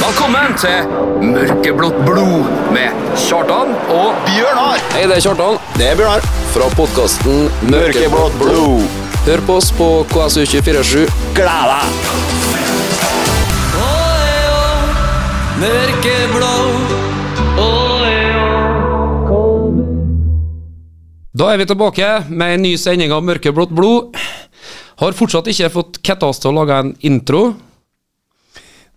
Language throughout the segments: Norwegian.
Velkommen til Mørkeblått blod med Kjartan og Bjørnar! Hei, det er Kjartan. Det er Bjørnar. Fra podkasten Mørkeblått blod. Hør på oss på KSU247. Gled deg! Da er vi tilbake med en ny sending av Mørkeblått blod. Har fortsatt ikke fått ketta oss til å lage en intro.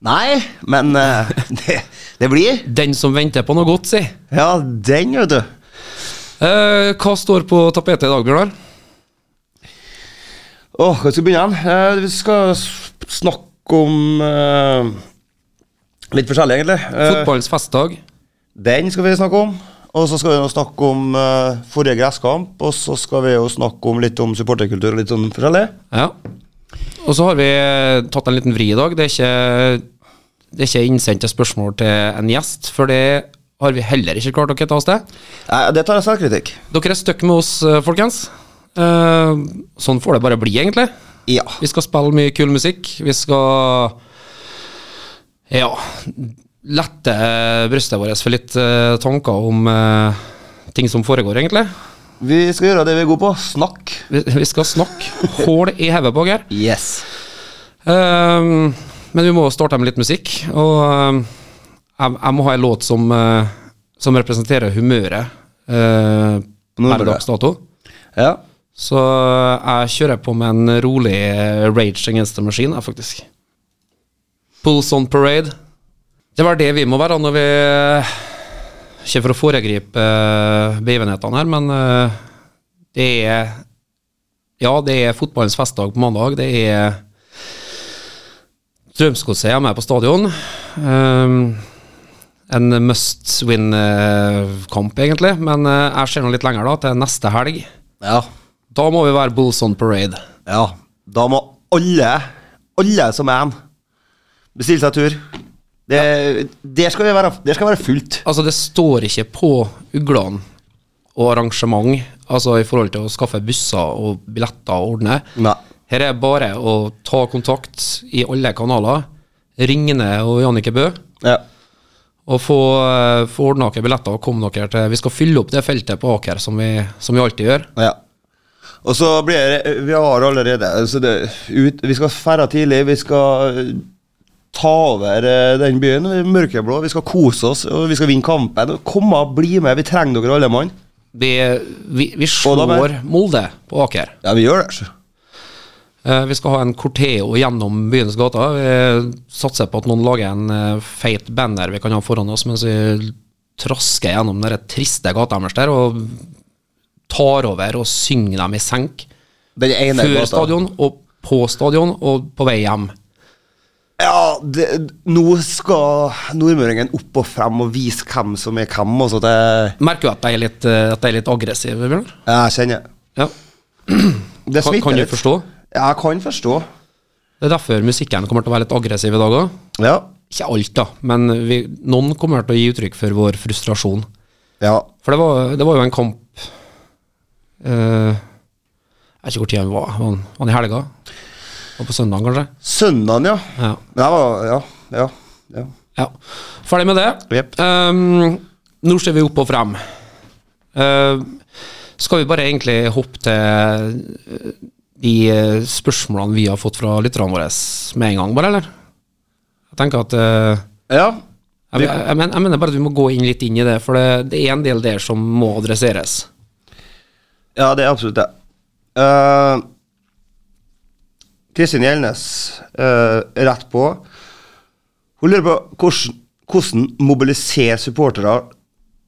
Nei, men eh, det, det blir. Den som venter på noe godt, si. Ja, den, vet du. Eh, hva står på tapetet i dag, Bjørnar? Eh, Åh, hva skal vi begynne igjen? Eh, vi skal s- snakke om eh, litt forskjellig, egentlig. Eh, Fotballens festdag. den skal vi snakke om. Og så skal vi jo snakke om eh, forrige gresskamp, og så skal vi jo snakke om litt om supporterkultur og litt sånn forskjellig. Ja. Og så har vi eh, tatt en liten vri i dag. Det er ikke, det er ikke innsendte spørsmål til en gjest, for det har vi heller ikke klart å kette oss til. Nei, det tar jeg selvkritikk. Dere er stuck med oss, eh, folkens. Eh, sånn får det bare bli, egentlig. Ja. Vi skal spille mye kul musikk. Vi skal ja, lette eh, brystet vårt for litt eh, tanker om eh, ting som foregår, egentlig. Vi skal gjøre det vi er gode på. Snakk. Vi, vi skal snakke hål i hodet på her. Yes. Ehm, men vi må starte med litt musikk, og ehm, jeg, jeg må ha en låt som, eh, som representerer humøret eh, Nå er per det. dags dato. Ja. Så eh, jeg kjører på med en rolig eh, Rage Against the Machine, jeg, faktisk. Pulse on Parade. Det var det vi må være når vi eh, Ikke for å foregripe eh, begivenhetene her, men eh, det er Ja, det er fotballens festdag på mandag. Det er Strømsgodset hjemme på stadion. Um, en must win-kamp, egentlig. Men eh, jeg ser nå litt lenger, da, til neste helg. Ja. Da må vi være Bulls on parade. Ja, da må alle, alle som er en, bestille seg tur. Det, der, skal vi være, der skal være fullt. Altså, det står ikke på uglene og arrangement, altså i forhold til å skaffe busser og billetter og ordne. Nei. Her er bare å ta kontakt i alle kanaler. Ringene og Jannicke Bø. Ja. Og få, eh, få ordna noen billetter og komme dere til Vi skal fylle opp det feltet på Aker som vi, som vi alltid gjør. ja. Og så blir det Vi har allerede altså det, ut, Vi skal ferde tidlig, vi skal eh, ta over eh, den byen. vi er Mørkeblå. Vi skal kose oss, og vi skal vinne kampen. Kom og bli med, vi trenger dere alle mann. Vi, vi, vi Og da med- slår Molde på Aker. Ja, vi gjør det. altså. så. Eh, Vi skal ha en corteo gjennom byens gater. Vi satser på at noen lager en eh, feit banner vi kan ha foran oss mens vi trasker gjennom den triste gata deres der og tar over og synger dem i senk. Den ene Før gata. stadion og på stadion og på vei hjem. Ja, det, nå skal nordmøringen opp og frem og vise hvem som er hvem. Og så det, Merker du at de er litt, eh, at de er litt aggressive, Bjørn? jeg kjenner Ja. det Kan, smitter kan du litt. forstå? Ja, jeg kan forstå. Det er derfor musikken kommer til å være litt aggressiv i dag òg. Ja. Ikke alt, da, men vi, noen kommer til å gi uttrykk for vår frustrasjon. ja. For det var, det var jo en kamp eh, Jeg vet ikke hvor tida den var. Var den- var den i helga? Og på søndagen, kanskje? Søndagen, ja. Ja. Det var, ja. Ja. ja. ja. Ferdig med det. Jepp. Ehm, nå ser vi opp og frem. Ehm, skal vi bare egentlig hoppe til eh, de eh, spørsmålene vi har fått fra lytterne våre med en gang, bare, eller? Jeg tenker at eh, ja. jeg, jeg, jeg, men, jeg mener bare at vi må gå inn litt inn i det, for det, det er en del der som må adresseres. Ja, det er absolutt det. Eh, Kristin Gjelnes, eh, rett på. Hun lurer på hvordan, hvordan mobilisere supportere.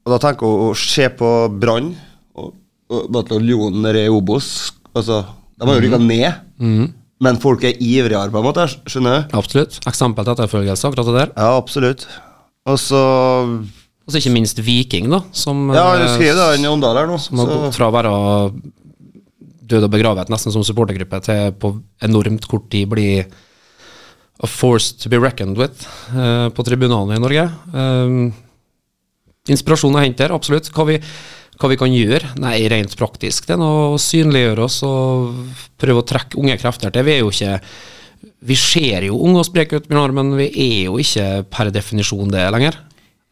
Og da tenker hun å se på Brann og, og bataljonen nede i Obos. Altså, de har jo Mhm. rykka ned, men folk er ivrigere, på en måte. Skjønner du? Absolutt. Eksempel til etterfølgelse, akkurat det der. Ja, absolutt. Og så Og så ikke minst Viking, da, som, Ja, du eh, skrev det i Åndal her nå. som har gått Så, fra å være død og begravet nesten som supportergruppe, til på enormt kort tid bli a force to be reckoned with eh, på tribunalene i Norge. Um, inspirasjon å hente her, absolutt. Hva vi, hva vi kan gjøre? Nei, rent praktisk. Det er noe å synliggjøre oss og prøve å trekke unge krefter til. Vi er jo ikke Vi ser jo unge og spreke ut, Bjørnar, men vi er jo ikke per definisjon det lenger.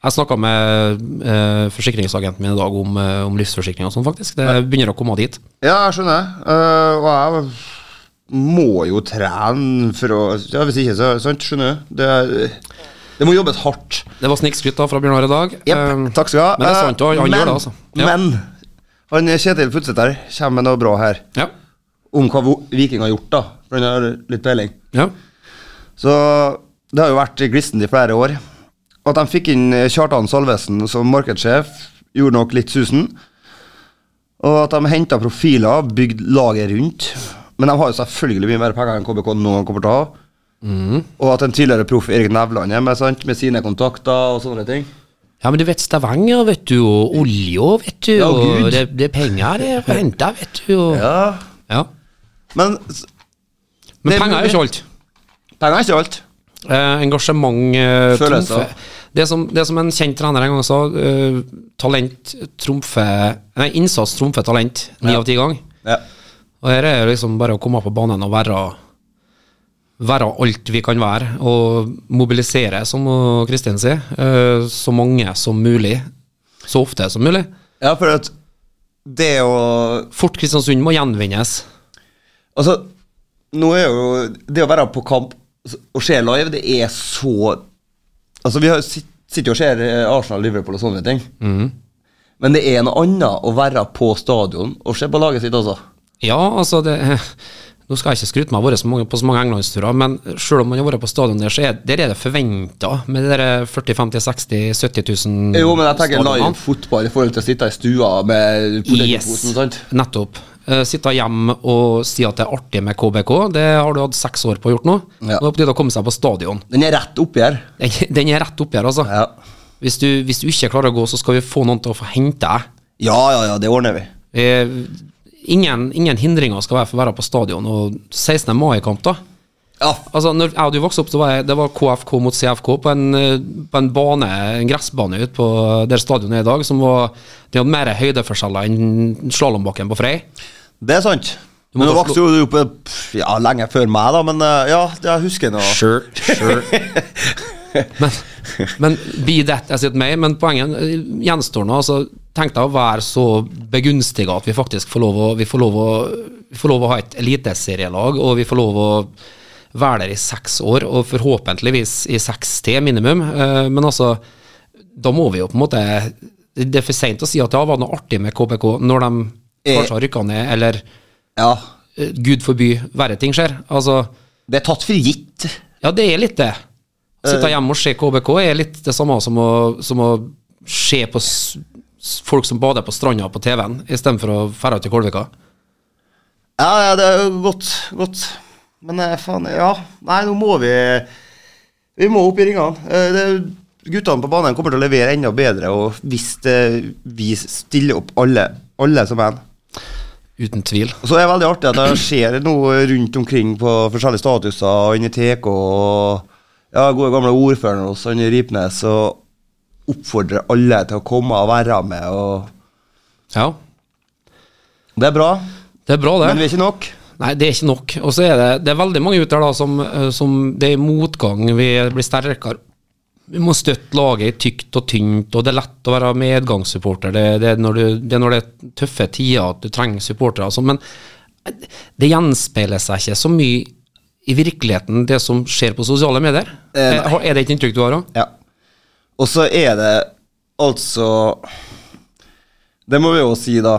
Jeg snakka med eh, forsikringsagenten min i dag om, eh, om livsforsikring og sånn, faktisk. Det begynner å komme dit. Ja, jeg skjønner. Eh, og jeg må jo trene for å ja, Hvis ikke, så sant, skjønner du. Det, er- det må jobbes hardt. Det var snikskryt da fra Bjørnar i dag. Jepp, Eh, takk skal du ha. Men det er sant, han, han Eh, gjør det, altså. Ja. Men han Kjetil Futsæter kommer med noe bra her. ja. Om hva vo- Viking har gjort, da. For han har litt peiling. ja. Så det har jo vært glissent i flere år. At de fikk inn eh, Kjartan Salvesen som markedssjef, gjorde nok litt susen. Og at de henta profiler, bygd laget rundt. Men de har jo selvfølgelig mye mer penger enn KBK noen gang kommer til å ha. Og at en tidligere proff Erik Nevland er med, sant, med sine kontakter og sånne ting. Ja, men du vet Stavanger, vet du, og olja, vet du. Ja, og Gud. det, det er penger det er å hente, vet du. Og, ja. Ja. Men s- Men Det- penger er jo ikke alt. penger er ikke alt. Eh, engasjement eh, Følelser. trumfer. Det som, det som en kjent trener en gang sa, eh, talent trumfer Nei, innsats trumfer talent ni av ti ganger. Ja. Og her er det liksom bare å komme på banen og være Være alt vi kan være, og mobilisere, som eh, Kristin sier. eh, så mange som mulig. Så ofte som mulig. ja, for at det å Fort Kristiansund må gjenvinnes. Altså, nå er jo Det å være på kamp og se live, det er så Altså, vi har, sit- sitter jo og ser eh, Arsenal, Liverpool og sånne ting. Men det er noe annet å være på stadion og se på laget sitt, altså. Ja, altså det Nå skal jeg ikke skryte meg av å ha vært så mange- på så mange englandsturer, men selv om man har vært på stadion der, så er, der er det forventa med de der 40 50 60 70 000 Jo, men jeg tenker stadionene. live fotball i forhold til å sitte i stua med potetposen, sant? Nettopp. Eh, sitte hjemme og si at det er artig med KBK, det har du hatt seks år på å gjort nå. Nå Ja. er det på tide å komme seg på stadion. Den er rett oppi her. Den, den er rett oppi her, altså. Ja. Hvis, du, hvis du ikke klarer å gå, så skal vi få noen til å få hente deg. ja, ja, ja, det ordner vi. Eh, ingen, ingen hindringer skal være for å være på stadion. Og 16. mai-kamp, da. Ja, Altså, når jeg og du vokste opp, så var jeg, det var KFK mot CFK på en, eh, på en bane, en gressbane ute på der stadionet er i dag, som var De hadde mer høydeforskjeller enn slalåmbakken på Frei. det er sant. må Men nå da vokste jo du opp eh, pff, ja, lenge før meg, da, men eh, ja, det jeg husker nå. Sure, sure. men, men be that as it may, men poenget eh, gjenstår nå. Altså, tenk deg å være så begunstiga at vi faktisk får lov å, vi får lov å, vi får lov å ha et eliteserielag, og vi får lov å være der i seks år, og forhåpentligvis i seks til minimum. Eh, Men altså, da må vi jo på en måte Det er for seint å si at det var noe artig med KBK når de Eh. kanskje har rykka ned, eller Ja. eh, gud forby, verre ting skjer. Altså, Det er tatt for gitt. ja, det er litt det. Sitte hjemme og se KBK er litt det samme som å, som å se på s s- folk som bader på stranda på TV-en, istedenfor å dra ut til Kolvika. Ja, ja, det er jo godt, godt. Men eh, faen, ja. Nei, nå må vi Vi må opp i ringene. Eh, Det, guttene på banen kommer til å levere enda bedre og hvis det, vi stiller opp alle, alle som en. Uten tvil. Og så er det veldig artig at det skjer noe rundt omkring på forskjellige statuser og inni TK og ja, gode gamle ordføreren hos han Ripnes og oppfordrer alle til å komme og være med og Ja, Det er bra, det er bra, det. men vi er ikke nok. Nei, det er ikke nok. Og så er det, det er veldig mange ute der da som, eh, som det er motgang, vi blir sterkere. Vi må støtte laget i tykt og tynt, og det er lett å være medgangssupporter. Det, det, er, når du, det er når det er tøffe tider at du trenger supportere. Altså. Men eh, det gjenspeiler seg ikke så mye i virkeligheten, det som skjer på sosiale medier. Eh, nei. er, har- er det et inntrykk du har òg? Ja. Og så er det altså Det må vi jo si, da.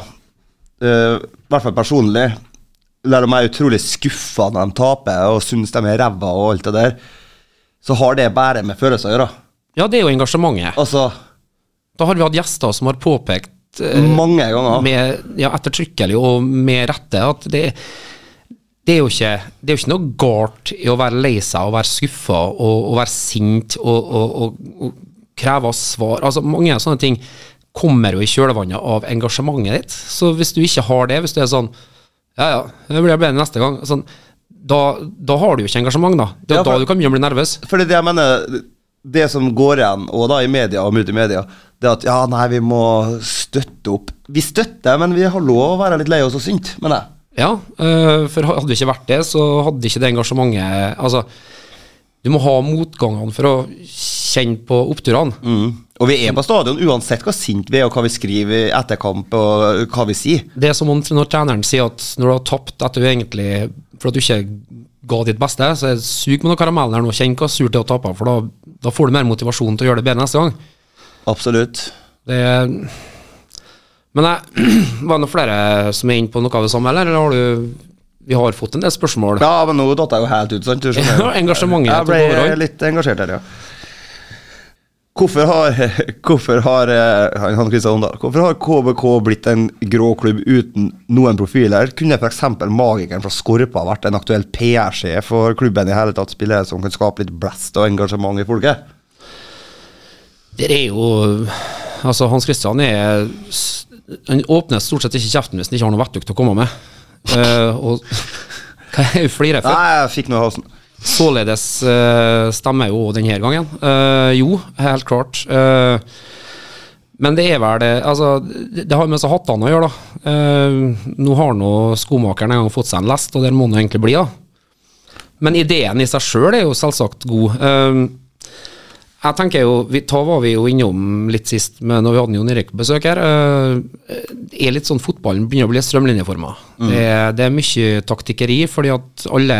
eh, I hvert fall personlig. Der de er utrolig skuffa når de taper og syns de er ræva og alt det der, så har det bare med følelser å gjøre. Ja, det er jo engasjementet. Altså, Da har vi hatt gjester som har påpekt eh, mange ganger. med, ja, ettertrykkelig og med rette at det, det, er jo ikke, det er jo ikke noe galt i å være lei seg og være skuffa og, og være sint og, og, og, og kreve svar. Altså, mange sånne ting kommer jo i kjølvannet av engasjementet ditt. Så hvis du ikke har det, hvis du er sånn Ja, ja, det blir bedre neste gang. Sånn, da, da har du jo ikke engasjement, da. Det er Ja, for- da du kan begynne å bli nervøs. Fordi det jeg mener Det som går igjen, og da i media og multimedia, det er at ja, nei, vi må støtte opp. Vi støtter, men vi har lov å være litt lei oss og sinte, mener jeg. Ja, eh, for hadde det ikke vært det, så hadde ikke det engasjementet Altså, du må ha motgangene for å kjenne på oppturene. Mm. Og vi er på stadion uansett hvor sint vi er, og hva vi skriver etter kamp, og hva vi sier. Det er som om når treneren sier at når du har tapt etter du egentlig For at du ikke ga ditt beste, så er det sug med noen karamellen her nå. Kjenn hvor surt det er å tape, for da, da får du mer motivasjon til å gjøre det bedre neste gang. Absolutt. Det er Men jeg, var det noen flere som er inne på noe av det samme, eller? eller har du Vi har fått en del spørsmål. Ja, men nå datt jeg jo helt ut, sant? Du skjønner jo. Ja, engasjementet Jeg tok overhånd. ble litt engasjert her, ja. Hvorfor har, hvorfor har eh, han han Kristian Omdal, hvorfor har KBK blitt en grå klubb uten noen profiler? Kunne f.eks. magikeren fra Skorpa vært en aktuell PR-sjef for klubben i hele tatt? Spillere som kan skape litt blest og engasjement i folket? Det er jo Altså, Hans Christian er s- Han åpner stort sett ikke kjeften hvis han ikke har noe vettug til å komme med. Eh, og hva er det hun flirer for? Nei, jeg fikk noe i halsen. Således eh, stemmer jo denne gangen. Eh, jo, helt klart. Eh, men det er vel det Altså, det det har med seg hattene å gjøre, da. Eh, nå har nå skomakeren en gang fått seg en lest, og der må han jo egentlig bli, da. Men ideen i seg sjøl er jo selvsagt god. Eh, jeg tenker jo, vi, Ta var vi jo innom litt sist men når vi hadde Jon Erik på besøk her. eh, det er litt sånn Fotballen begynner å bli strømlinjeforma. Det, er- det er mye taktikkeri, fordi at alle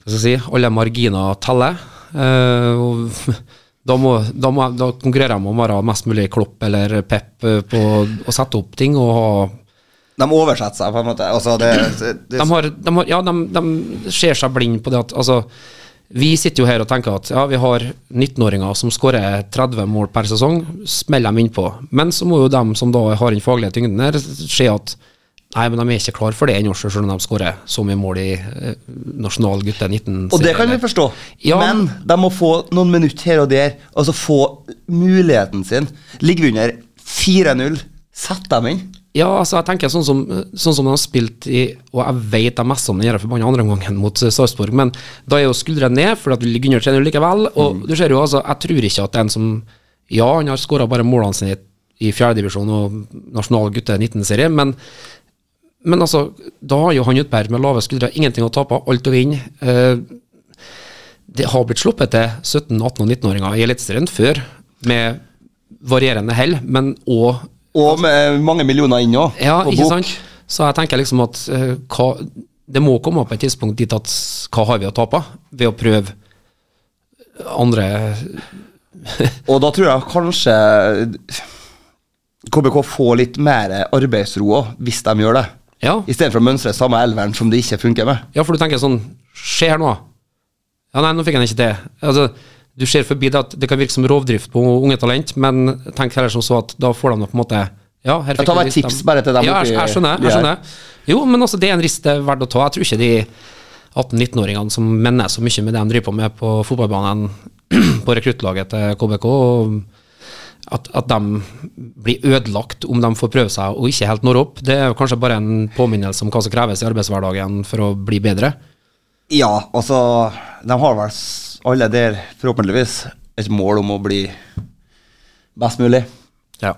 hva skal jeg si, alle marginer teller. eh, og da, må, da, må, da konkurrerer jeg med å være mest mulig klopp eller pep eh, på å sette opp ting. og ha, De oversetter seg, på en måte. Altså, det, det, de, har, de, har, ja, de, de ser seg blind på det at altså, Vi sitter jo her og tenker at ja, vi har 19-åringer som skårer 30 mål per sesong, smell dem innpå. Men så må jo dem som da har den faglige tyngden her, se at nei, men de er ikke klar for det ennå, selv om de skårer så mye mål i eh, nasjonal gutte 19 Og det kan vi forstå, Ja, men de må få noen minutter her og der. Altså få muligheten sin. Ligger vi under 4-0, sett dem inn. Ja, altså jeg tenker sånn som, sånn som de har spilt i Og jeg vet jeg mest om den her forbanna andre omgangen mot eh, Sarpsborg, men da er jo skuldrene ned, for at vi ligger under 3-0 likevel. Og du ser jo altså, jeg tror ikke at den som Ja, han har skåra bare målene sine i, i fjerdedivisjon og nasjonal gutte 19-serie, men men altså, da har jo han Utberg med lave skuldre ingenting å tape, alt å vinne. Eh, det har blitt sluppet til 17-, 18- og 19-åringer i Eliteserien før, med varierende hell, men òg Og med mange millioner inn òg. ja, ikke sant? Så jeg tenker liksom at eh, hva, det må komme opp et tidspunkt dit at hva har vi å tape ved å prøve andre Og da tror jeg kanskje KBK får litt mer arbeidsro òg, hvis de gjør det. Ja, Istedenfor å mønstre samme elveren som det ikke funker med. ja for du tenker sånn Skjer noe? Ja, nei, nå fikk jeg den ikke til. Altså, du ser forbi det at det kan virke som rovdrift på unge talent, men tenk heller som så at da får de nå på en måte ja, her Ja, fikk ta vi meg et vist dem. tips bare til dem Ja, jeg, oppi- jeg skjønner. de jeg her. skjønner. Jo, men altså, det er en risk det er verdt å ta. Jeg tror ikke de 18-19-åringene som mener så mye med det de driver på med på fotballbanen, på rekruttlaget til KBK, og at, at de blir ødelagt om de får prøve seg og ikke helt når opp. Det er jo kanskje bare en påminnelse om hva som kreves i arbeidshverdagen for å bli bedre. Ja, altså De har vel s- alle der, forhåpentligvis, et mål om å bli best mulig. Ja.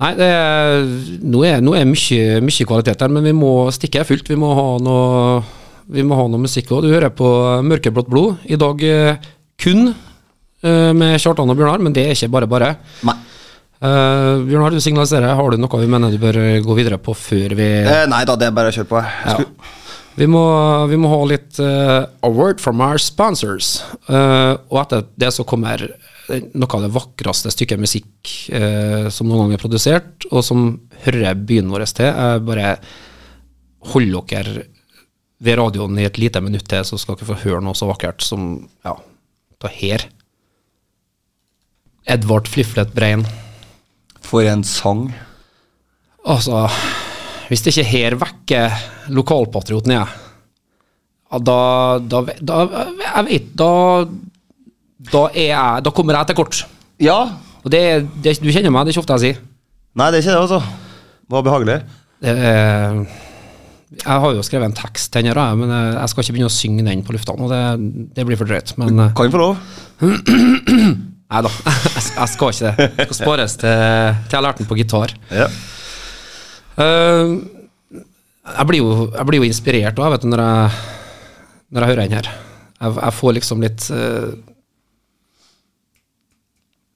Nei, det er, nå er, nå er mye, mye kvalitet her, men vi må stikke fullt. Vi må ha noe, vi må ha noe musikk òg. Du hører på Mørkeblått blod. I dag eh, kun eh, med Kjartan og Bjørnar, men det er ikke bare bare. Nei. Eh, Bjørnar, du signaliserer. Har du noe vi mener du bør gå videre på før vi Eh, nei da, det er bare å kjøre på. Jeg ja. skulle- Vi må, vi må ha litt eh, A word from our sponsors. Eh, og etter det så kommer noe av det vakreste stykket musikk eh, som noen gang er produsert, og som hører byen vår til. Jeg bare hold dere ved radioen i et lite minutt til, så skal dere få høre noe så vakkert som ja, det her. Edvard Fliflet Brein. For en sang. Altså, hvis det ikke her vekker lokalpatrioten jeg, ja, da, da, ve- da Jeg vet Da, da, er jeg, da kommer jeg til kort. Ja. Og det, er- det, er- du kjenner meg, det er ikke ofte jeg sier. Nei, det er ikke det, altså. Det var behagelig. Det er, jeg har jo skrevet en tekst til den, her, jeg, men jeg jeg skal ikke begynne å synge den på lufta nå. Det, det blir for drøyt. Men eh, Kan vi få lov? nei da, jeg, jeg skal ikke det. Det skal spares til, til jeg lærte den på gitar. Ja. Eh, Jeg blir jo, jeg blir jo inspirert òg, vet du, når jeg, når jeg hører den her. Jeg, jeg får liksom litt eh,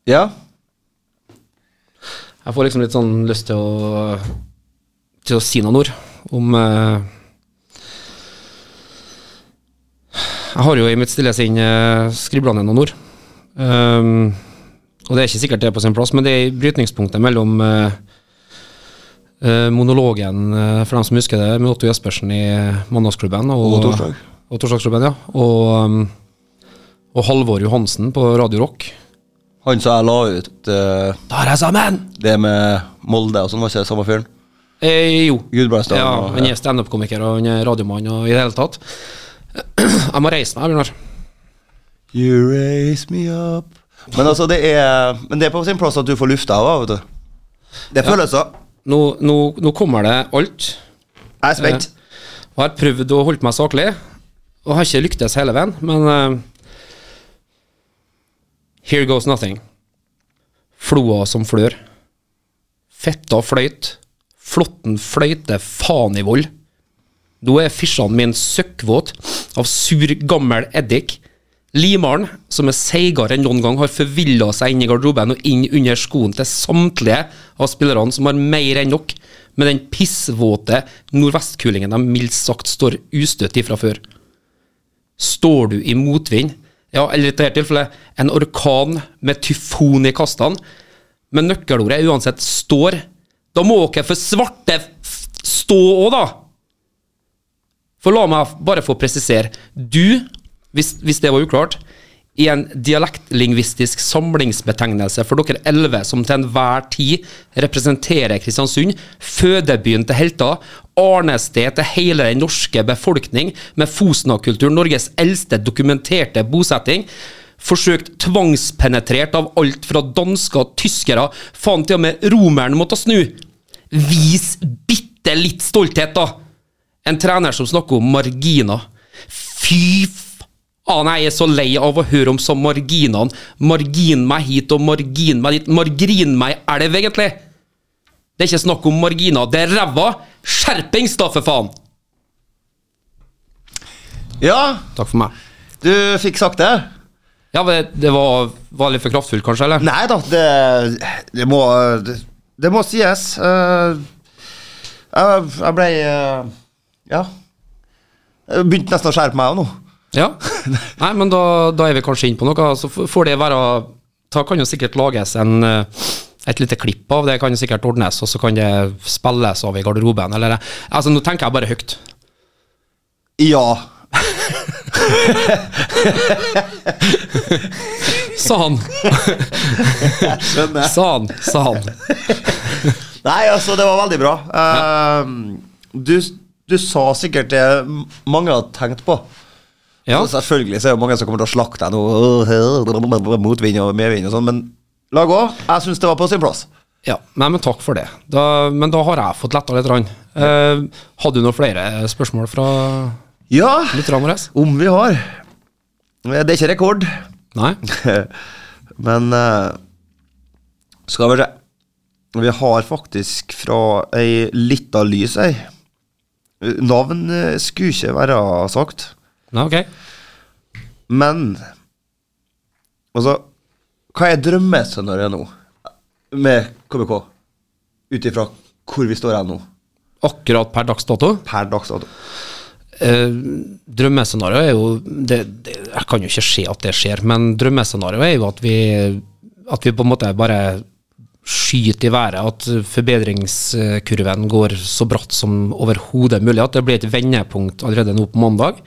Ja. Jeg får liksom litt sånn lyst til å Til å si noen ord om eh, Jeg har jo i mitt stille sinn uh, skribla ned noen ord. Ehm, og det er ikke sikkert det er på sin plass, men det er i brytningspunktet mellom eh, eh, monologen, eh, for dem som husker det, med Otto Jespersen i Mandagsklubben og, Og Torsdag. Og Torsdagsklubben, ja. Og, ehm, og Halvor Johansen på Radio Rock. Han som jeg la ut eh, Ta deg sammen! det med Molde og sånn, var ikke det samme fyren? Eh, jo. Gudbrandsdalen Ja, og- han er standup-komiker og han er radiomann og i det hele tatt. Jeg må reise meg, Bjørnar. You raise me up Men altså, det er Men det er på sin plass at du får lufta av, vet du. Det er følelser. Nå, nå, nå kommer det alt. Jeg er spent. Og jeg har prøvd å holde meg saklig, og har ikke lyktes hele veien, men eh, Here goes nothing. Floa som flør. Fetta fløyt. Flåtten fløyte faen i vold. Nå er fisjene mine søkkvåt av sur, gammel eddik. Limaren, som er seigere enn noen gang, har forvilla seg inn i garderoben og inn under skoen til samtlige av spillerne som har mer enn nok med den pissvåte nordvestkulingen de mildt sagt står ustøtt ifra før. Står du i motvind, ja, eller i dette tilfellet en orkan med tyfon i kastene, men nøkkelordet er uansett 'står', da må dere for svarte f- stå òg, da! For la meg bare få presisere. Du, hvis, hvis det var uklart, i en dialektlingvistisk samlingsbetegnelse for dere elleve som til enhver tid representerer Kristiansund, fødebyen til helter, arnested til hele den norske befolkning med Fosna-kulturen, Norges eldste dokumenterte bosetting, forsøkt tvangspenetrert av alt fra dansker, tyskere, faen til og med romeren måtte snu. Vis bitte litt stolthet, da! En trener som snakker om marginer. Fy faen, jeg er så lei av å høre om sånn marginene. Margin meg hit og margin meg dit. Margrin meg i elv, egentlig. Det er ikke snakk om marginer, det er ræva. Skjerpings, da, for faen! Ja, Takk for meg. du fikk sagt det. Ja, men det var, var litt for kraftfullt, kanskje? eller? Nei da, det, det må det, det må sies. Eh, jeg, jeg ble eh, Ja. Jeg begynte nesten å skjerpe meg òg nå. Ja. Nei, men da, da er vi kanskje inne på noe. Så f- får det være Da kan jo sikkert lages en, eh, et lite klipp av det, kan jo sikkert ordnes, og så kan det spilles av i garderoben, eller Altså, nå tenker jeg bare høyt. Ja. Sa han, Skjønner. sa han, sa han. Nei, altså, det var veldig bra. Eh, du, du sa sikkert det mange har tenkt på. Ja, Så Altså, selvfølgelig så er det mange som kommer til å slakte deg nå, øh, motvind og medvind og sånn, men la gå. Jeg syns det var på sin plass. ja. Nei, men takk for det. Da, men da har jeg fått letta litt. grann. Eh, hadde du noen flere spørsmål fra Ja, lytterne våre? om vi har. Det er ikke rekord, Nei? men eh, skal vi se. Vi har faktisk fra ei lita lys, ei. Navn eh, skulle ikke være sagt. Nei, ok. Men Altså, hva er drømmescenarioet nå med KBK? Ut ifra hvor vi står her nå, Akkurat per dags dato? per dags dato. Eh, drømmescenario er jo det, det, Jeg kan jo ikke se at det skjer, men drømmescenario er jo at vi, at vi på en måte bare skyter i været. At forbedringskurven går så bratt som overhodet mulig. At det blir et vendepunkt allerede nå på mandag.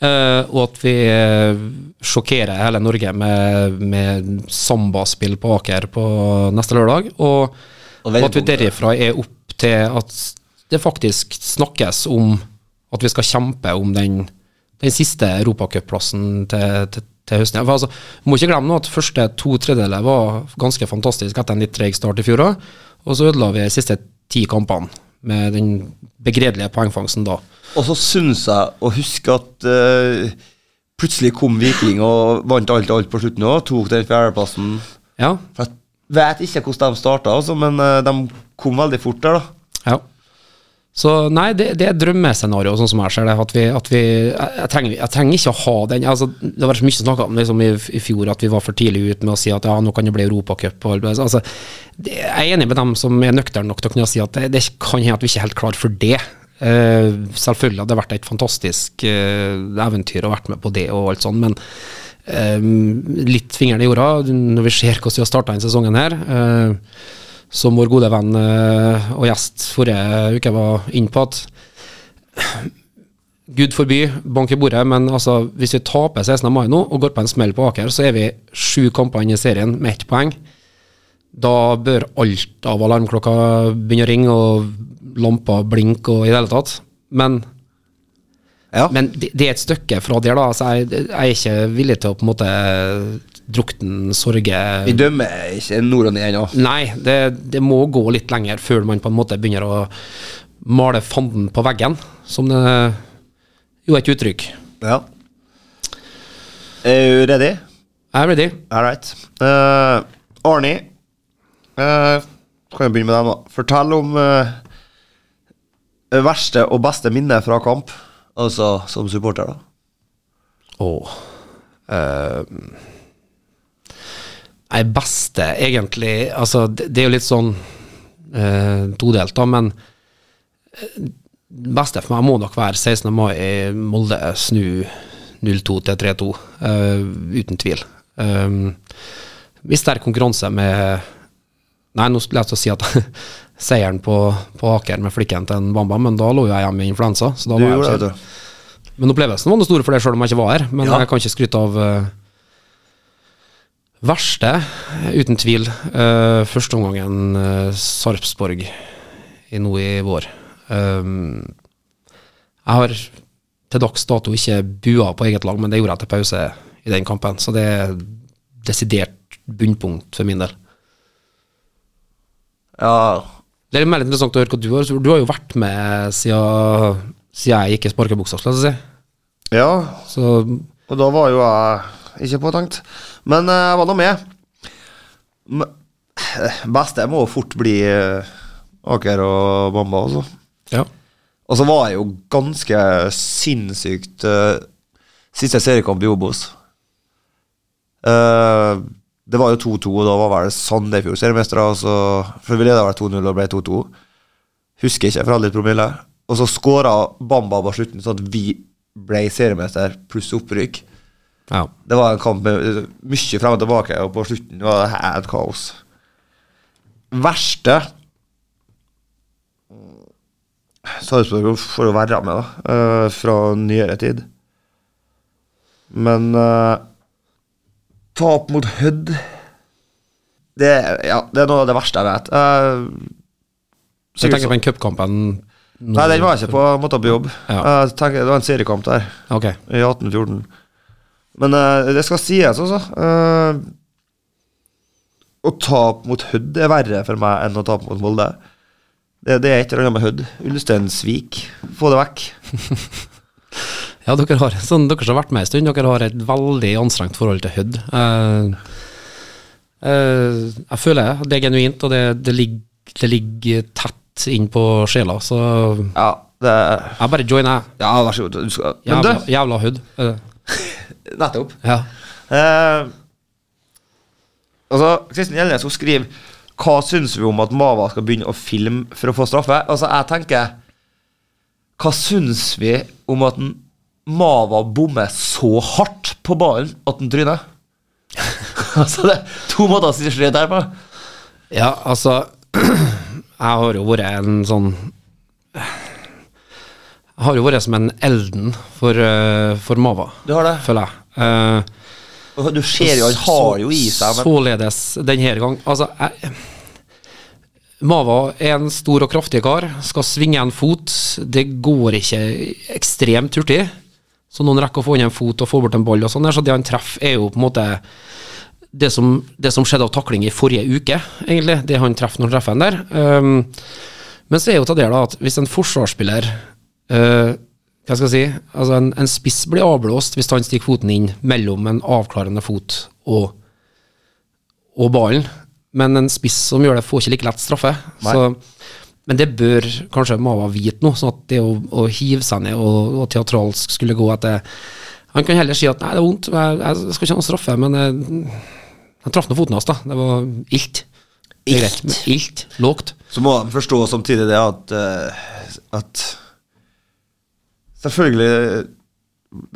Eh, og at vi eh, sjokkerer hele Norge med, med sambaspill på Aker på neste lørdag. Og, og Og at vi vendepunktet. derifra er opp til at det faktisk snakkes om at vi skal kjempe om den, den siste europacupplassen til, til, til høsten. For altså, må ikke glemme nå at første to tredjedeler var ganske fantastisk etter en litt treg start i fjor òg. Og så ødela vi de siste ti kampene med den begredelige poengfangsten da. Og så syns jeg å huske at eh, plutselig kom Viking og vant alt og alt på slutten òg. Tok den fjerdeplassen. Ja, For Jeg vet ikke hvordan de starta, altså, men eh, de kom veldig fort der, da. ja. Så nei, det, det er drømmescenario, sånn som jeg ser det. At vi, at vi, jeg, jeg trenger, jeg trenger ikke å ha den. Altså, det har vært så mye snakka om liksom, i, i fjor at vi var for tidlig ute med å si at ja, nå kan det bli Europacup. og alt det der. Altså, det, jeg er enig med dem som er nøkterne nok til å kunne si at det, det kan hende at vi ikke er helt klar for det. Eh, selvfølgelig hadde det vært et fantastisk eh, eventyr å vært med på det og alt sånt, men eh, litt fingeren i jorda når vi ser hvordan vi har starta denne sesongen her. eh, som vår gode venn eh, og gjest forrige uke var inne på, at gud forby, bank i bordet, men altså, hvis vi taper 16. mai nå og går på en smell på Aker, så er vi sju kamper inn i serien med ett poeng. Da bør alt av alarmklokka begynne å ringe, og lamper blinke og i det hele tatt. Men Ja. men det, det er et stykke fra der, da. Altså, jeg, jeg er ikke villig til å på en måte drukne sorge Vi dømmer ikke Nordland i ennå. Nei, det, det må gå litt lenger før man på en måte begynner å male fanden på veggen, som det jo er et uttrykk. Ja. Er du ready? Jeg er ready. All right. Eh, Arnie, eh, kan jeg begynne med deg nå? Fortell om eh, verste og beste minne fra kamp, altså som supporter, da. Åh. Eh, Nei, beste, egentlig Altså, det, det er jo litt sånn eh, todelt, da, men eh, beste for meg må nok være 16. mai i Molde snu 0-2 til 3-2, eh, uten tvil. Um, I sterk konkurranse med Nei, nå skulle jeg til å si at seieren på, på Aker med flikken til en Bamba, men da lå jo jeg hjemme med influensa. Så da Du var jeg gjorde ikke- det, vet du. men opplevelsen var noe stor for det, sjøl om jeg ikke var her. Men Ja. jeg kan ikke skryte av eh, verste, uten tvil. Uh, Førsteomgangen uh, Sarpsborg i nå i vår. Um, jeg har til dags dato ikke bua på eget lag, men det gjorde jeg til pause i den kampen. Så det er desidert bunnpunkt for min del. Ja, Det er mer interessant å høre hva du har. Du har jo vært med siden, siden jeg gikk i sparkebuksa, skal jeg si. Ja, Så og da var jo jeg ikke påtenkt. Men eh, jeg var nå med. Men, eh, beste må fort bli eh, Aker og Bamba, altså. ja. Og så var jeg jo ganske sinnssykt eh, Siste seriekamp i Obos. Eh, det var jo 2-2, og da var vel Sandefjord seriemestere. og så- For vi leda vel 2-0 og ble 2-2. Husker ikke, for jeg hadde litt promille. Og så skåra Bamba på slutten, sånn at vi ble seriemester pluss opprykk. ja. Det var en kamp med eh, mye frem og tilbake, og på slutten var det helt kaos. Verste mm, Sarpsborg får jo være med, da, eh, fra nyere tid. Men eh, tap mot Hødd det, er- ja, det er noe av det verste jeg vet. Eh, Jeg tenker på den cupkampen nå. nei, den var jeg ikke på. Jeg måtte på jobb. Eh, Ja. Jeg tenker, det var en seriekamp der. Ok. i 1814. Men eh, det skal sies også. eh, å tape mot Hødd er verre for meg enn å tape mot Molde. Det, det er et eller annet med Hødd. Ulsteinsvik. Få det vekk. Ja, dere, har, sånn, dere som har vært med en stund, dere har et veldig anstrengt forhold til Hødd. Eh, eh, jeg føler det er genuint, og det, det, ligger, det ligger tett inn på sjela, så Ja, det jeg bare joiner, jeg. Ja, vær så god. Du skal Men Jævla, du, jævla Hødd. er det. nettopp. Ja. Eh, altså, Kristin Gjelnes hun skriver Hva syns vi om at Mava skal begynne å filme for å få straffe? Altså, jeg tenker Hva syns vi om at en Mava bommer så hardt på ballen at den tryner? altså, det er to måter å si det der på. Ja, altså Jeg har jo vært en sånn Jeg har jo vært som en elden for, eh, for Mava, Du har det. føler jeg. Eh, Og Du ser jo, han har jo i seg men, Således denne gang. Altså, jeg, Mava er en stor og kraftig kar. Skal svinge en fot. Det går ikke ekstremt hurtig. Så noen rekker å få inn en fot og få bort en ball og sånn. der, Så det han treffer, er jo på en måte det som, det som skjedde av takling i forrige uke, egentlig. Det han treffer når han treffer en der. Ehm, men så er jo til det da at hvis en forsvarsspiller eh, Hva skal jeg si Altså en, en spiss blir avblåst hvis han stikker foten inn mellom en avklarende fot og, og ballen, men en spiss som gjør det, får ikke like lett straffe. Så, Men det bør kanskje Mava vite nå, sånn at det å, å hive seg ned og, og teatralsk skulle gå etter Han kan heller si at 'nei, det er vondt, jeg, jeg skal ikke ha noen straffe', men jeg, jeg traff nå foten hans, da. Det var ilt. Det er greit, men Ilt. Lågt. Så må de forstå samtidig det at, eh, at Selvfølgelig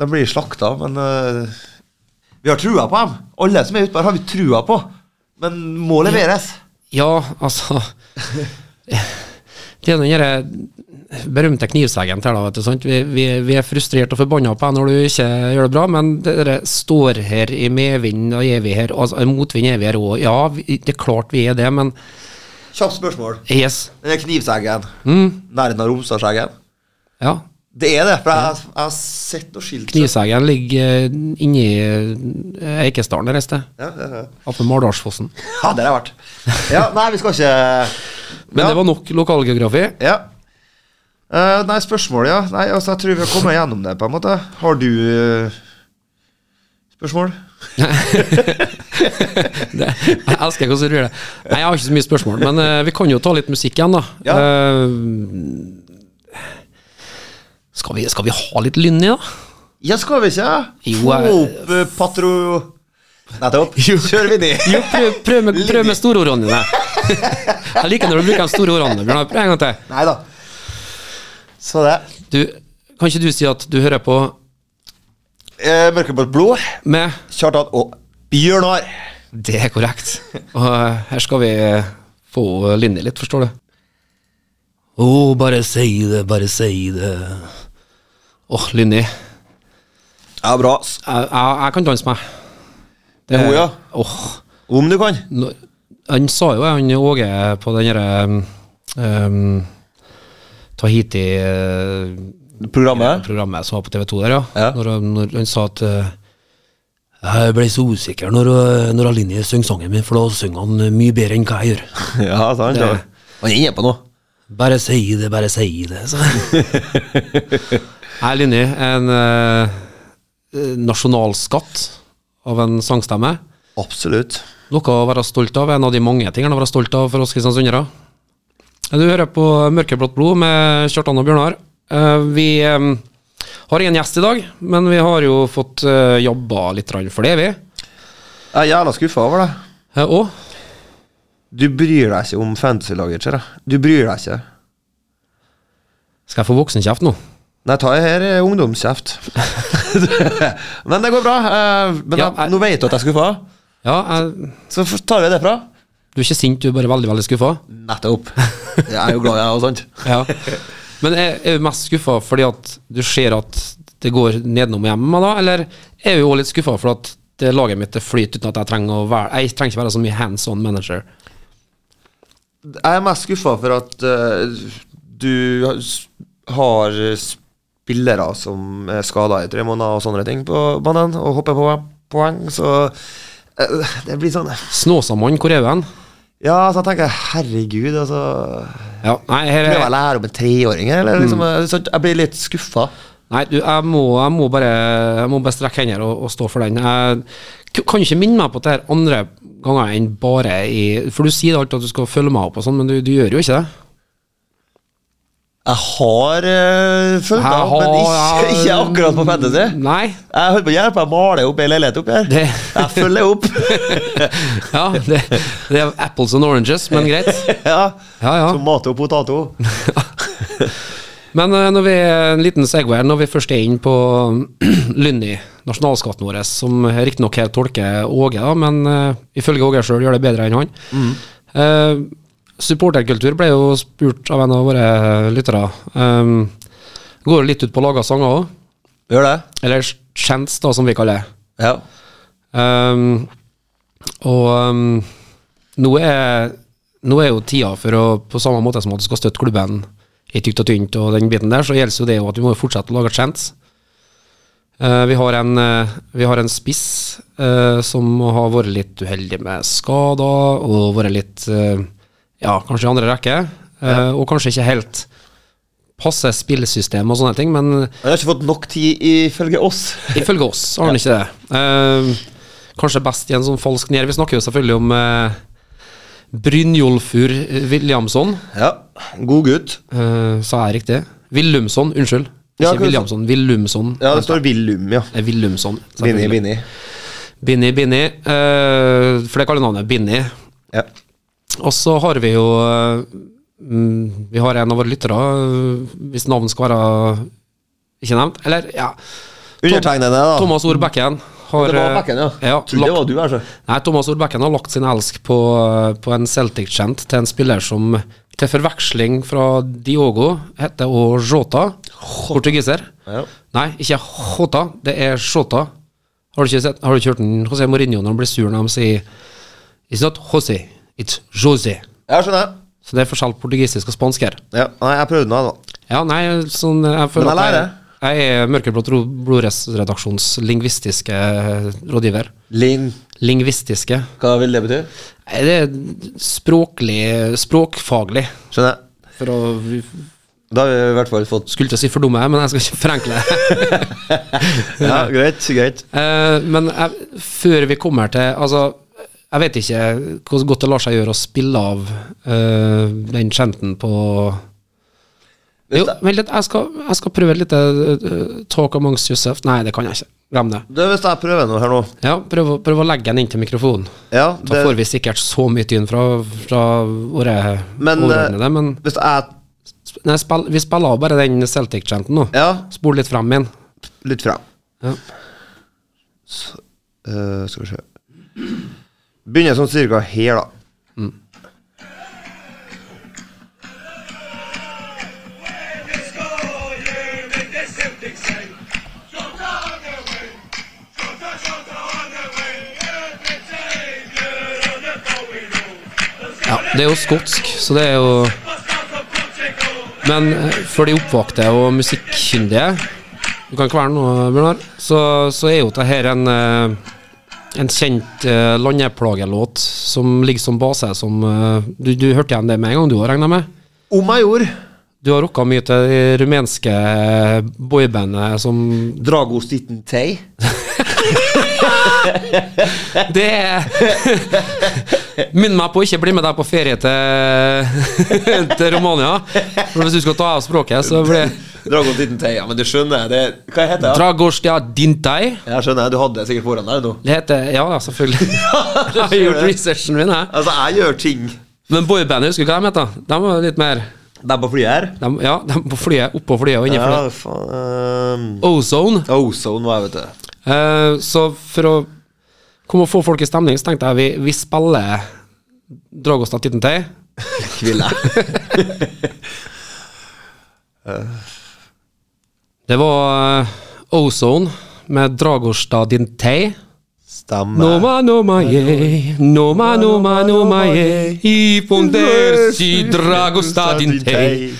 De blir slakta, men eh, vi har trua på dem. Alle som er ute der, har vi trua på. Men må leveres. Ja, altså Det er den derre berømte knivseggen til, da, vet du. Sant? Vi, vi, vi er frustrert og forbanna på deg når du ikke gjør det bra, men det derre står her i medvind og er vi her, altså i motvind er vi her òg. Ja, vi, det er klart vi er det, men Kjapt spørsmål. yes. Den er knivseggen. Nærheten av Romsdalseggen. Ja. Det er det, for jeg, jeg har sett noe skilt. Knivseggen ligger eh, inni eh, Eikesdalen der et sted. Ja, ja, ja. Oppe Mardalsfossen. ja, der har jeg vært. Ja, nei, vi skal ikke Men ja. det var nok lokalgeografi. Ja. Eh, nei, spørsmålet, ja. Nei, altså, jeg tror vi har kommet gjennom det, på en måte. Har du eh, spørsmål? Det, jeg elsker hvordan du gjør det. Nei, Jeg har ikke så mye spørsmål, men eh, vi kan jo ta litt musikk igjen, da. Ja. Eh, skal, vi, skal vi ha litt lynni, da? Ja, skal vi ikke? Jo, Få jeg- opp eh, patro... Nettopp. Kjører vi ned. Jo, prøv, prøv med, prøv med storordene dine. Jeg liker når du bruker de store ordene. Bjørnar. Prøv en gang til. Nei da. Så det. Du, kan ikke du si at du hører på Uh, Mørkeblått blod. med Kjartan og Bjørnar. Det er korrekt. Og eh, her skal vi få Linni litt, forstår du. Å, bare si det, bare si det. Åh, Linni. Jeg, Ja, bra. S- jeg, jeg kan danse, meg. Det er hun, ja. Åh, Om du kan. nå- han sa jo, han Åge, på den derre um, um, Tahiti-programmet Programmet. som var på TV 2 der, ja. Ja. Når, han- når han sa at eh, Jeg ble så usikker når, når Linni synger sangen min, for da synger han eh, mye bedre enn hva jeg gjør. Ja, sant. ja. Han er inne på noe. Bare si det, bare si det. Så. Her, Linni, en eh, nasjonalskatt av en sangstemme. Absolutt. Noe å være stolt av. En av de mange tingene å være stolt av for oss kristiansundere. Du hører på Mørkeblått blod med Kjartan og Bjørnar. Eh, vi eh, har ingen gjest i dag, men vi har jo fått eh, jobba litt grann for det, vi. Jeg er jævla skuffa over deg. Eh, og Du bryr deg ikke om fantasy-laget, ser jeg. Du bryr deg ikke. skal jeg få voksenkjeft nå? Nei, ta det her er ungdomskjeft. men det går bra. eh, Men Ja, jeg, jeg- nå vet du at jeg er skuffa, Ja, jeg, så f- tar vi det fra. du er ikke sint, du er bare veldig, veldig skuffa? Nettopp. Jeg er jo glad jeg og sånt. Ja. Men er, er du mest skuffa fordi at du ser at det går nedenom og hjem med meg, da? Eller er du òg litt skuffa for at det laget mitt det flyter uten at jeg trenger å være Jeg trenger ikke være så mye hands on manager. Jeg er mest skuffa for at eh, du har s- har spillere som er skada i tre måneder og sånne ting på banen, og hopper på poeng, så eh, Det blir sånn Snåsamann, hvor er du hen? Ja, så jeg tenker herregud, altså Ja, nei, her Prøver jeg å er lære om en treåring, eller? Liksom, eh, sånn, jeg blir litt skuffa. Nei, du, jeg må, jeg må bare Jeg må bare strekke hender og, og stå for den. Jeg k- kan ikke minne meg på det her andre ganger enn bare i For du sier alltid at du skal følge meg opp og sånn, men du, du gjør jo ikke det. Jeg har uh, fulgt Jeg deg opp, men har- ikke, ikke akkurat på fantasy. Nei. Jeg holder på å hjelpe, jeg maler opp ei leilighet opp her. Det- Jeg følger opp. Ja, det, det er apples and oranges, men greit. ja. Ja, ja. Tomato og potato. Men eh, når vi, en liten segway, når vi først er inn på Lynni, nasjonalskatten vår, som riktignok her tolker Åge, da, men eh, ifølge Åge sjøl gjør det bedre enn han. Eh, supporterkultur ble jo spurt av en av våre lyttere. Um, går jo litt ut på å lage sanger òg, Gjør det? eller chants, da, som vi kaller det. Ja. Um, og um, nå, er, nå er jo tida for å, på samme måte som at du skal støtte klubben i tykt og tynt og den biten der, så gjelder jo det jo at vi må jo fortsette å lage chants. Eh, vi, har en, eh, vi har en spiss eh, som har vært litt uheldig med skader, og vært litt eh, Ja, kanskje i andre rekke, eh, og kanskje ikke helt passer spillesystem og sånne ting, men Han har ikke fått nok tid ifølge oss. Ifølge oss har han ikke det. Eh, kanskje best i en sånn falsk nier. Vi snakker jo selvfølgelig om eh, Brynjolfur Williamson. Ja. God gutt. Eh, sa jeg riktig? Willumson, unnskyld. Ikke Ja, hva du sa? Williamson. Willumson. Ja, det står Willum, ja. Eh, Willumson. Binni, Binni. Binni, Binni. eh, for det kaller navnet Binni. Ja. Og så har vi jo eh, mm, Vi har en av våre lyttere, eh, hvis navn skal være ikke nevnt. Eller, ja. Undertegnede, da. Thomas Ord Bekken har det var eh, Bekken, ja. ja Trodde det lagt- var du, altså. Nei, Thomas Ordbekken har lagt sin elsk på, på en Celtic-kjent til en spiller som til forveksling fra Diogo heter og Jota, portugiser. Ja. Nei, ikke Jota, det er Jota. Har du ikke, sett, har du ikke hørt den? José Mourinho når han blir sur når han sier It's not José, it's José. Ja, skjønner jeg. Så det er forskjell på portugisisk og spansk her. Ja, nei, jeg prøvde nå, da. Ja, nei, sånn jeg føler Men jeg at jeg, jeg er Mørkeblått ro- blodredaksjons lingvistiske rådgiver. Lin. Lingvistiske. Hva vil det bety? Nei, Det er språklig Språkfaglig. Skjønner jeg. For å Da har vi i hvert fall fått Skulle til å si for dumme, men jeg skal ikke forenkle det. Ja, greit, greit. Eh, men jeg, før vi kommer til Altså, jeg vet ikke hvor godt det lar seg gjøre å spille av eh, den kjenten på Jo, Hvis det- vent litt, jeg skal, jeg skal prøve et lite eh, talk amongst yourself. Nei, det kan jeg ikke. Glem det. Du, hvis jeg prøver noe her nå Ja, prøv, å- prøv å legge den inn til mikrofonen. Ja, Da får det, vi sikkert så mye tyn fra, fra våre Men, eh, overordnede, men hvis jeg sp- nei, spill, vi spiller av bare den Celtic-kjenten nå. Ja, Spol litt frem igjen. litt frem. Ja. Så, eh, skal vi se Begynner sånn cirka her, da. Ja, det er jo skotsk, så det er jo Men eh, for de oppvakte og musikkyndige Du kan kvele noe, Bjørnar. Så, så er jo dette her en eh, en kjent eh, landeplagelåt som ligger som base, som eh, du, du hørte igjen det med en gang, du òg, regner jeg med? Om jeg gjorde Du har rocka mye til det rumenske boybandet som Drago Stitten Tei Det Minn meg på å ikke bli med deg på ferie til, til Romania. For hvis du skal ta av språket, så blir det Drago Stitten Tei, ja, men du skjønner det Hva heter det? Dragostia dintai. Ja, skjønner jeg, du hadde det sikkert foran deg nå. Det heter Ja, ja, selvfølgelig. Jeg har gjort researchen min, jeg. Altså, jeg gjør ting Men boybandet, husker du hva de het? da? De var litt mer Det er på flyet her. de, Ja, de på flyet, oppå flyet og inni flyet. Ja, faen Ozone. um, Ozone var jeg, vet du. Eh, så for å komme og få folk i stemning, så tenkte jeg vi, vi spiller Dragostia Tittentei. Kvile. Det var eh, Ozone med Dragostia Dintei. Stemmer. No ma no ma ye, no ma no ma no ma ye, i ponder si Dragosta Dintei.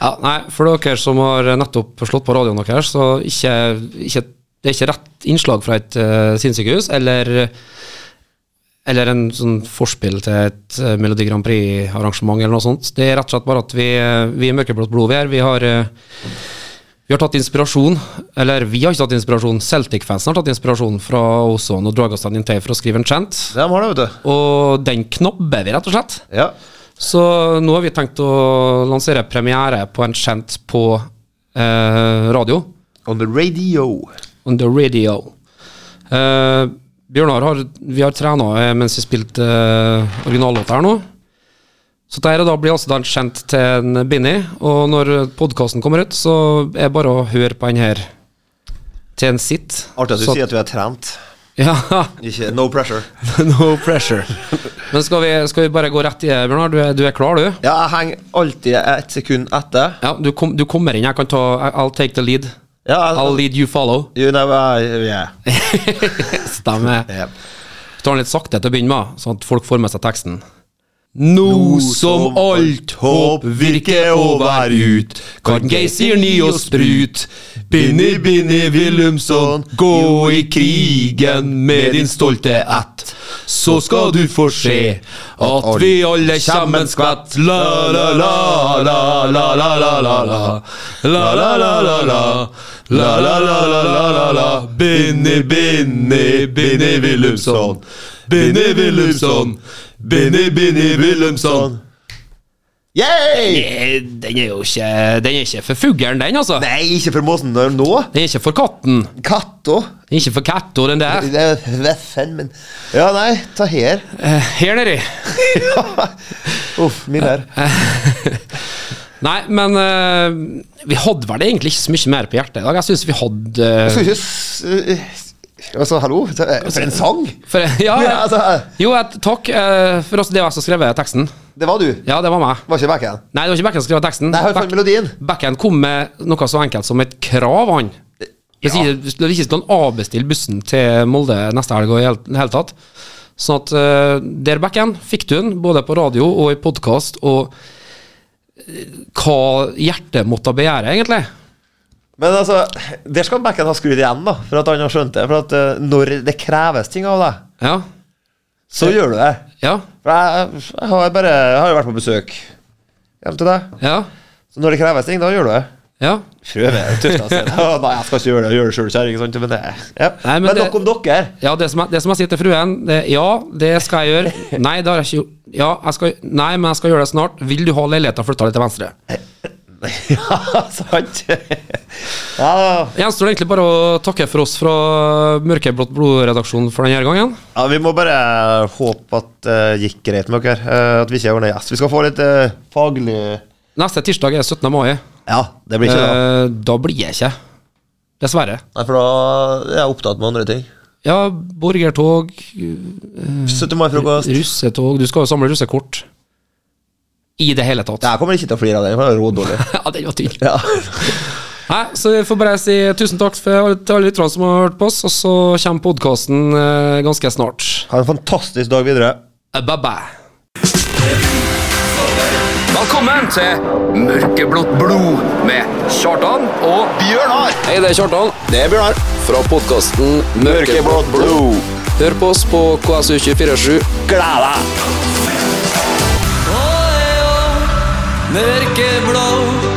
Ja, nei, for dere som har nettopp slått på radioen deres, så ikke, ikke, det er ikke rett innslag fra et uh, sinnssykehus, eller, eller en sånn forspill til et eh, Melodi Grand Prix-arrangement eller noe sånt. Det er rett og slett bare at vi, eh, vi er mørkeblått blod vi er. Vi har, eh, vi har tatt inspirasjon, eller vi har ikke tatt inspirasjon, Celtic-fansen har tatt inspirasjon fra Ozon og Dragastan Intei for å skrive en chant, De har det, vet du. og den knobber vi rett og slett. Ja. Så nå har vi tenkt å lansere premiere på en kjent på eh, radio. On the radio. On the radio. Eh, Bjørnar, har, vi har trena eh, mens vi spilte eh, originallåta her nå. Så dette da blir altså da en kjent til en Binni, og når podkasten kommer ut, så er det bare å høre på den her til en sitt. Artig at du Så- sier at vi har trent. Ja, Ikke No pressure. no pressure. Men skal vi, skal vi bare gå rett i det, Bjørnar? Du er, du er klar, du? Ja, jeg henger alltid ett sekund etter. Ja, du, kom, du kommer inn. Jeg kan ta I'll take the lead. Ja, altså- I'll jeg, lead you follow. you know, I, yeah. Stemmer. Yeah. Vi tar den litt sakte til å begynne med, sånn at folk får med seg teksten. Nå som alt håp virker over ut, kan Geysir ny og sprut. Binni, Binni Willumson, gå i krigen med din stolte ætt. Så skal du få se at vi alle sammen skvett. La, la, la, la, la, la, la, la, la. La, la, la, la, la. La, la, la, la, la, la, la. Binni, Binni, Binni Willumson. Binni Willumson. Binni, Binni Willumson. Yay! Eh, Den er jo ikke Den er ikke for fuglen, den, altså. Nei, ikke for måsen der nå. Den er ikke for katten. Katta. Den er ikke for katta, den der. Det er veffen, men Ja, nei, ta her. Eh, Her nedi. Uff, min her. Nei, men eh, vi hadde vel egentlig ikke så mye mer på hjertet i dag. Jeg syns vi hadde eh, Skal ikke s- Altså, hallo? For en sang! for, ja, Ja, altså, Jo, et, takk eh, for oss. Det var jeg som skrev teksten. det var du. Ja, det var meg. Var ikke backen. Nei, det var ikke Bekken som skrev teksten. Nei, jeg fant Beck- melodien. Bekken kom med noe så enkelt som et krav, han. Hvis ikke, hvis ikke skal han avbestille bussen til Molde neste helg og i hele- i hele tatt. Sånn at eh, der, Bekken, fikk du den både på radio og i podkast, og eh, hva hjertet måtte begjære, egentlig. Men altså, der skal backen ha skrudd igjen, da, for at han har skjønt det. For at eh, når det kreves ting av deg, Ja. så gjør du det. Ja. For jeg, jeg har bare Jeg har jo vært på besøk hjem til deg. Ja. Så når det kreves ting, da gjør du det. ja. Prøv det. Tøft å si det. Å, Nei, jeg skal ikke gjøre det. Gjør det sjøl, kjerring. sant, Men, det, ja. Nei, men men, det- nok om dere. Ja, det som, jeg, det som jeg sier til fruen, det, ja, det skal jeg gjøre. Nei, det har jeg ikke gjort. Ja, jeg skal, nei, men jeg skal gjøre det snart. Vil du ha leiligheten flytta litt til venstre? Ja, sant? Ja, Gjenstår det egentlig bare å takke for oss fra Mørkeblått blod-redaksjonen for denne gangen. ja, vi må bare håpe at det gikk greit med dere. eh, at vi ikke ordner gjest. Vi skal få litt eh, faglig Neste tirsdag er 17. mai. Ja, det blir ikke det. Eh, da blir jeg ikke. Dessverre. Nei, for da er jeg opptatt med andre ting. Ja, borgertog, 17. mai-frokost. russetog Du skal jo samle russekort. I det hele tatt. Ja, Jeg kommer ikke til å flire av den, for den er rådårlig. den var tynn. Ja. Nei, så vi får bare si tusen takk for alle, til alle lytterne som har hørt på oss, og så kommer podkasten eh, ganske snart. Ha en fantastisk dag videre. Eh, Bye bye. Velkommen til Mørkeblått blod med Kjartan og Bjørnar. Hei, det er Kjartan. Det er Bjørnar. Fra podkasten Mørkeblått blod. Hør på oss på KSU247. Mørkeblå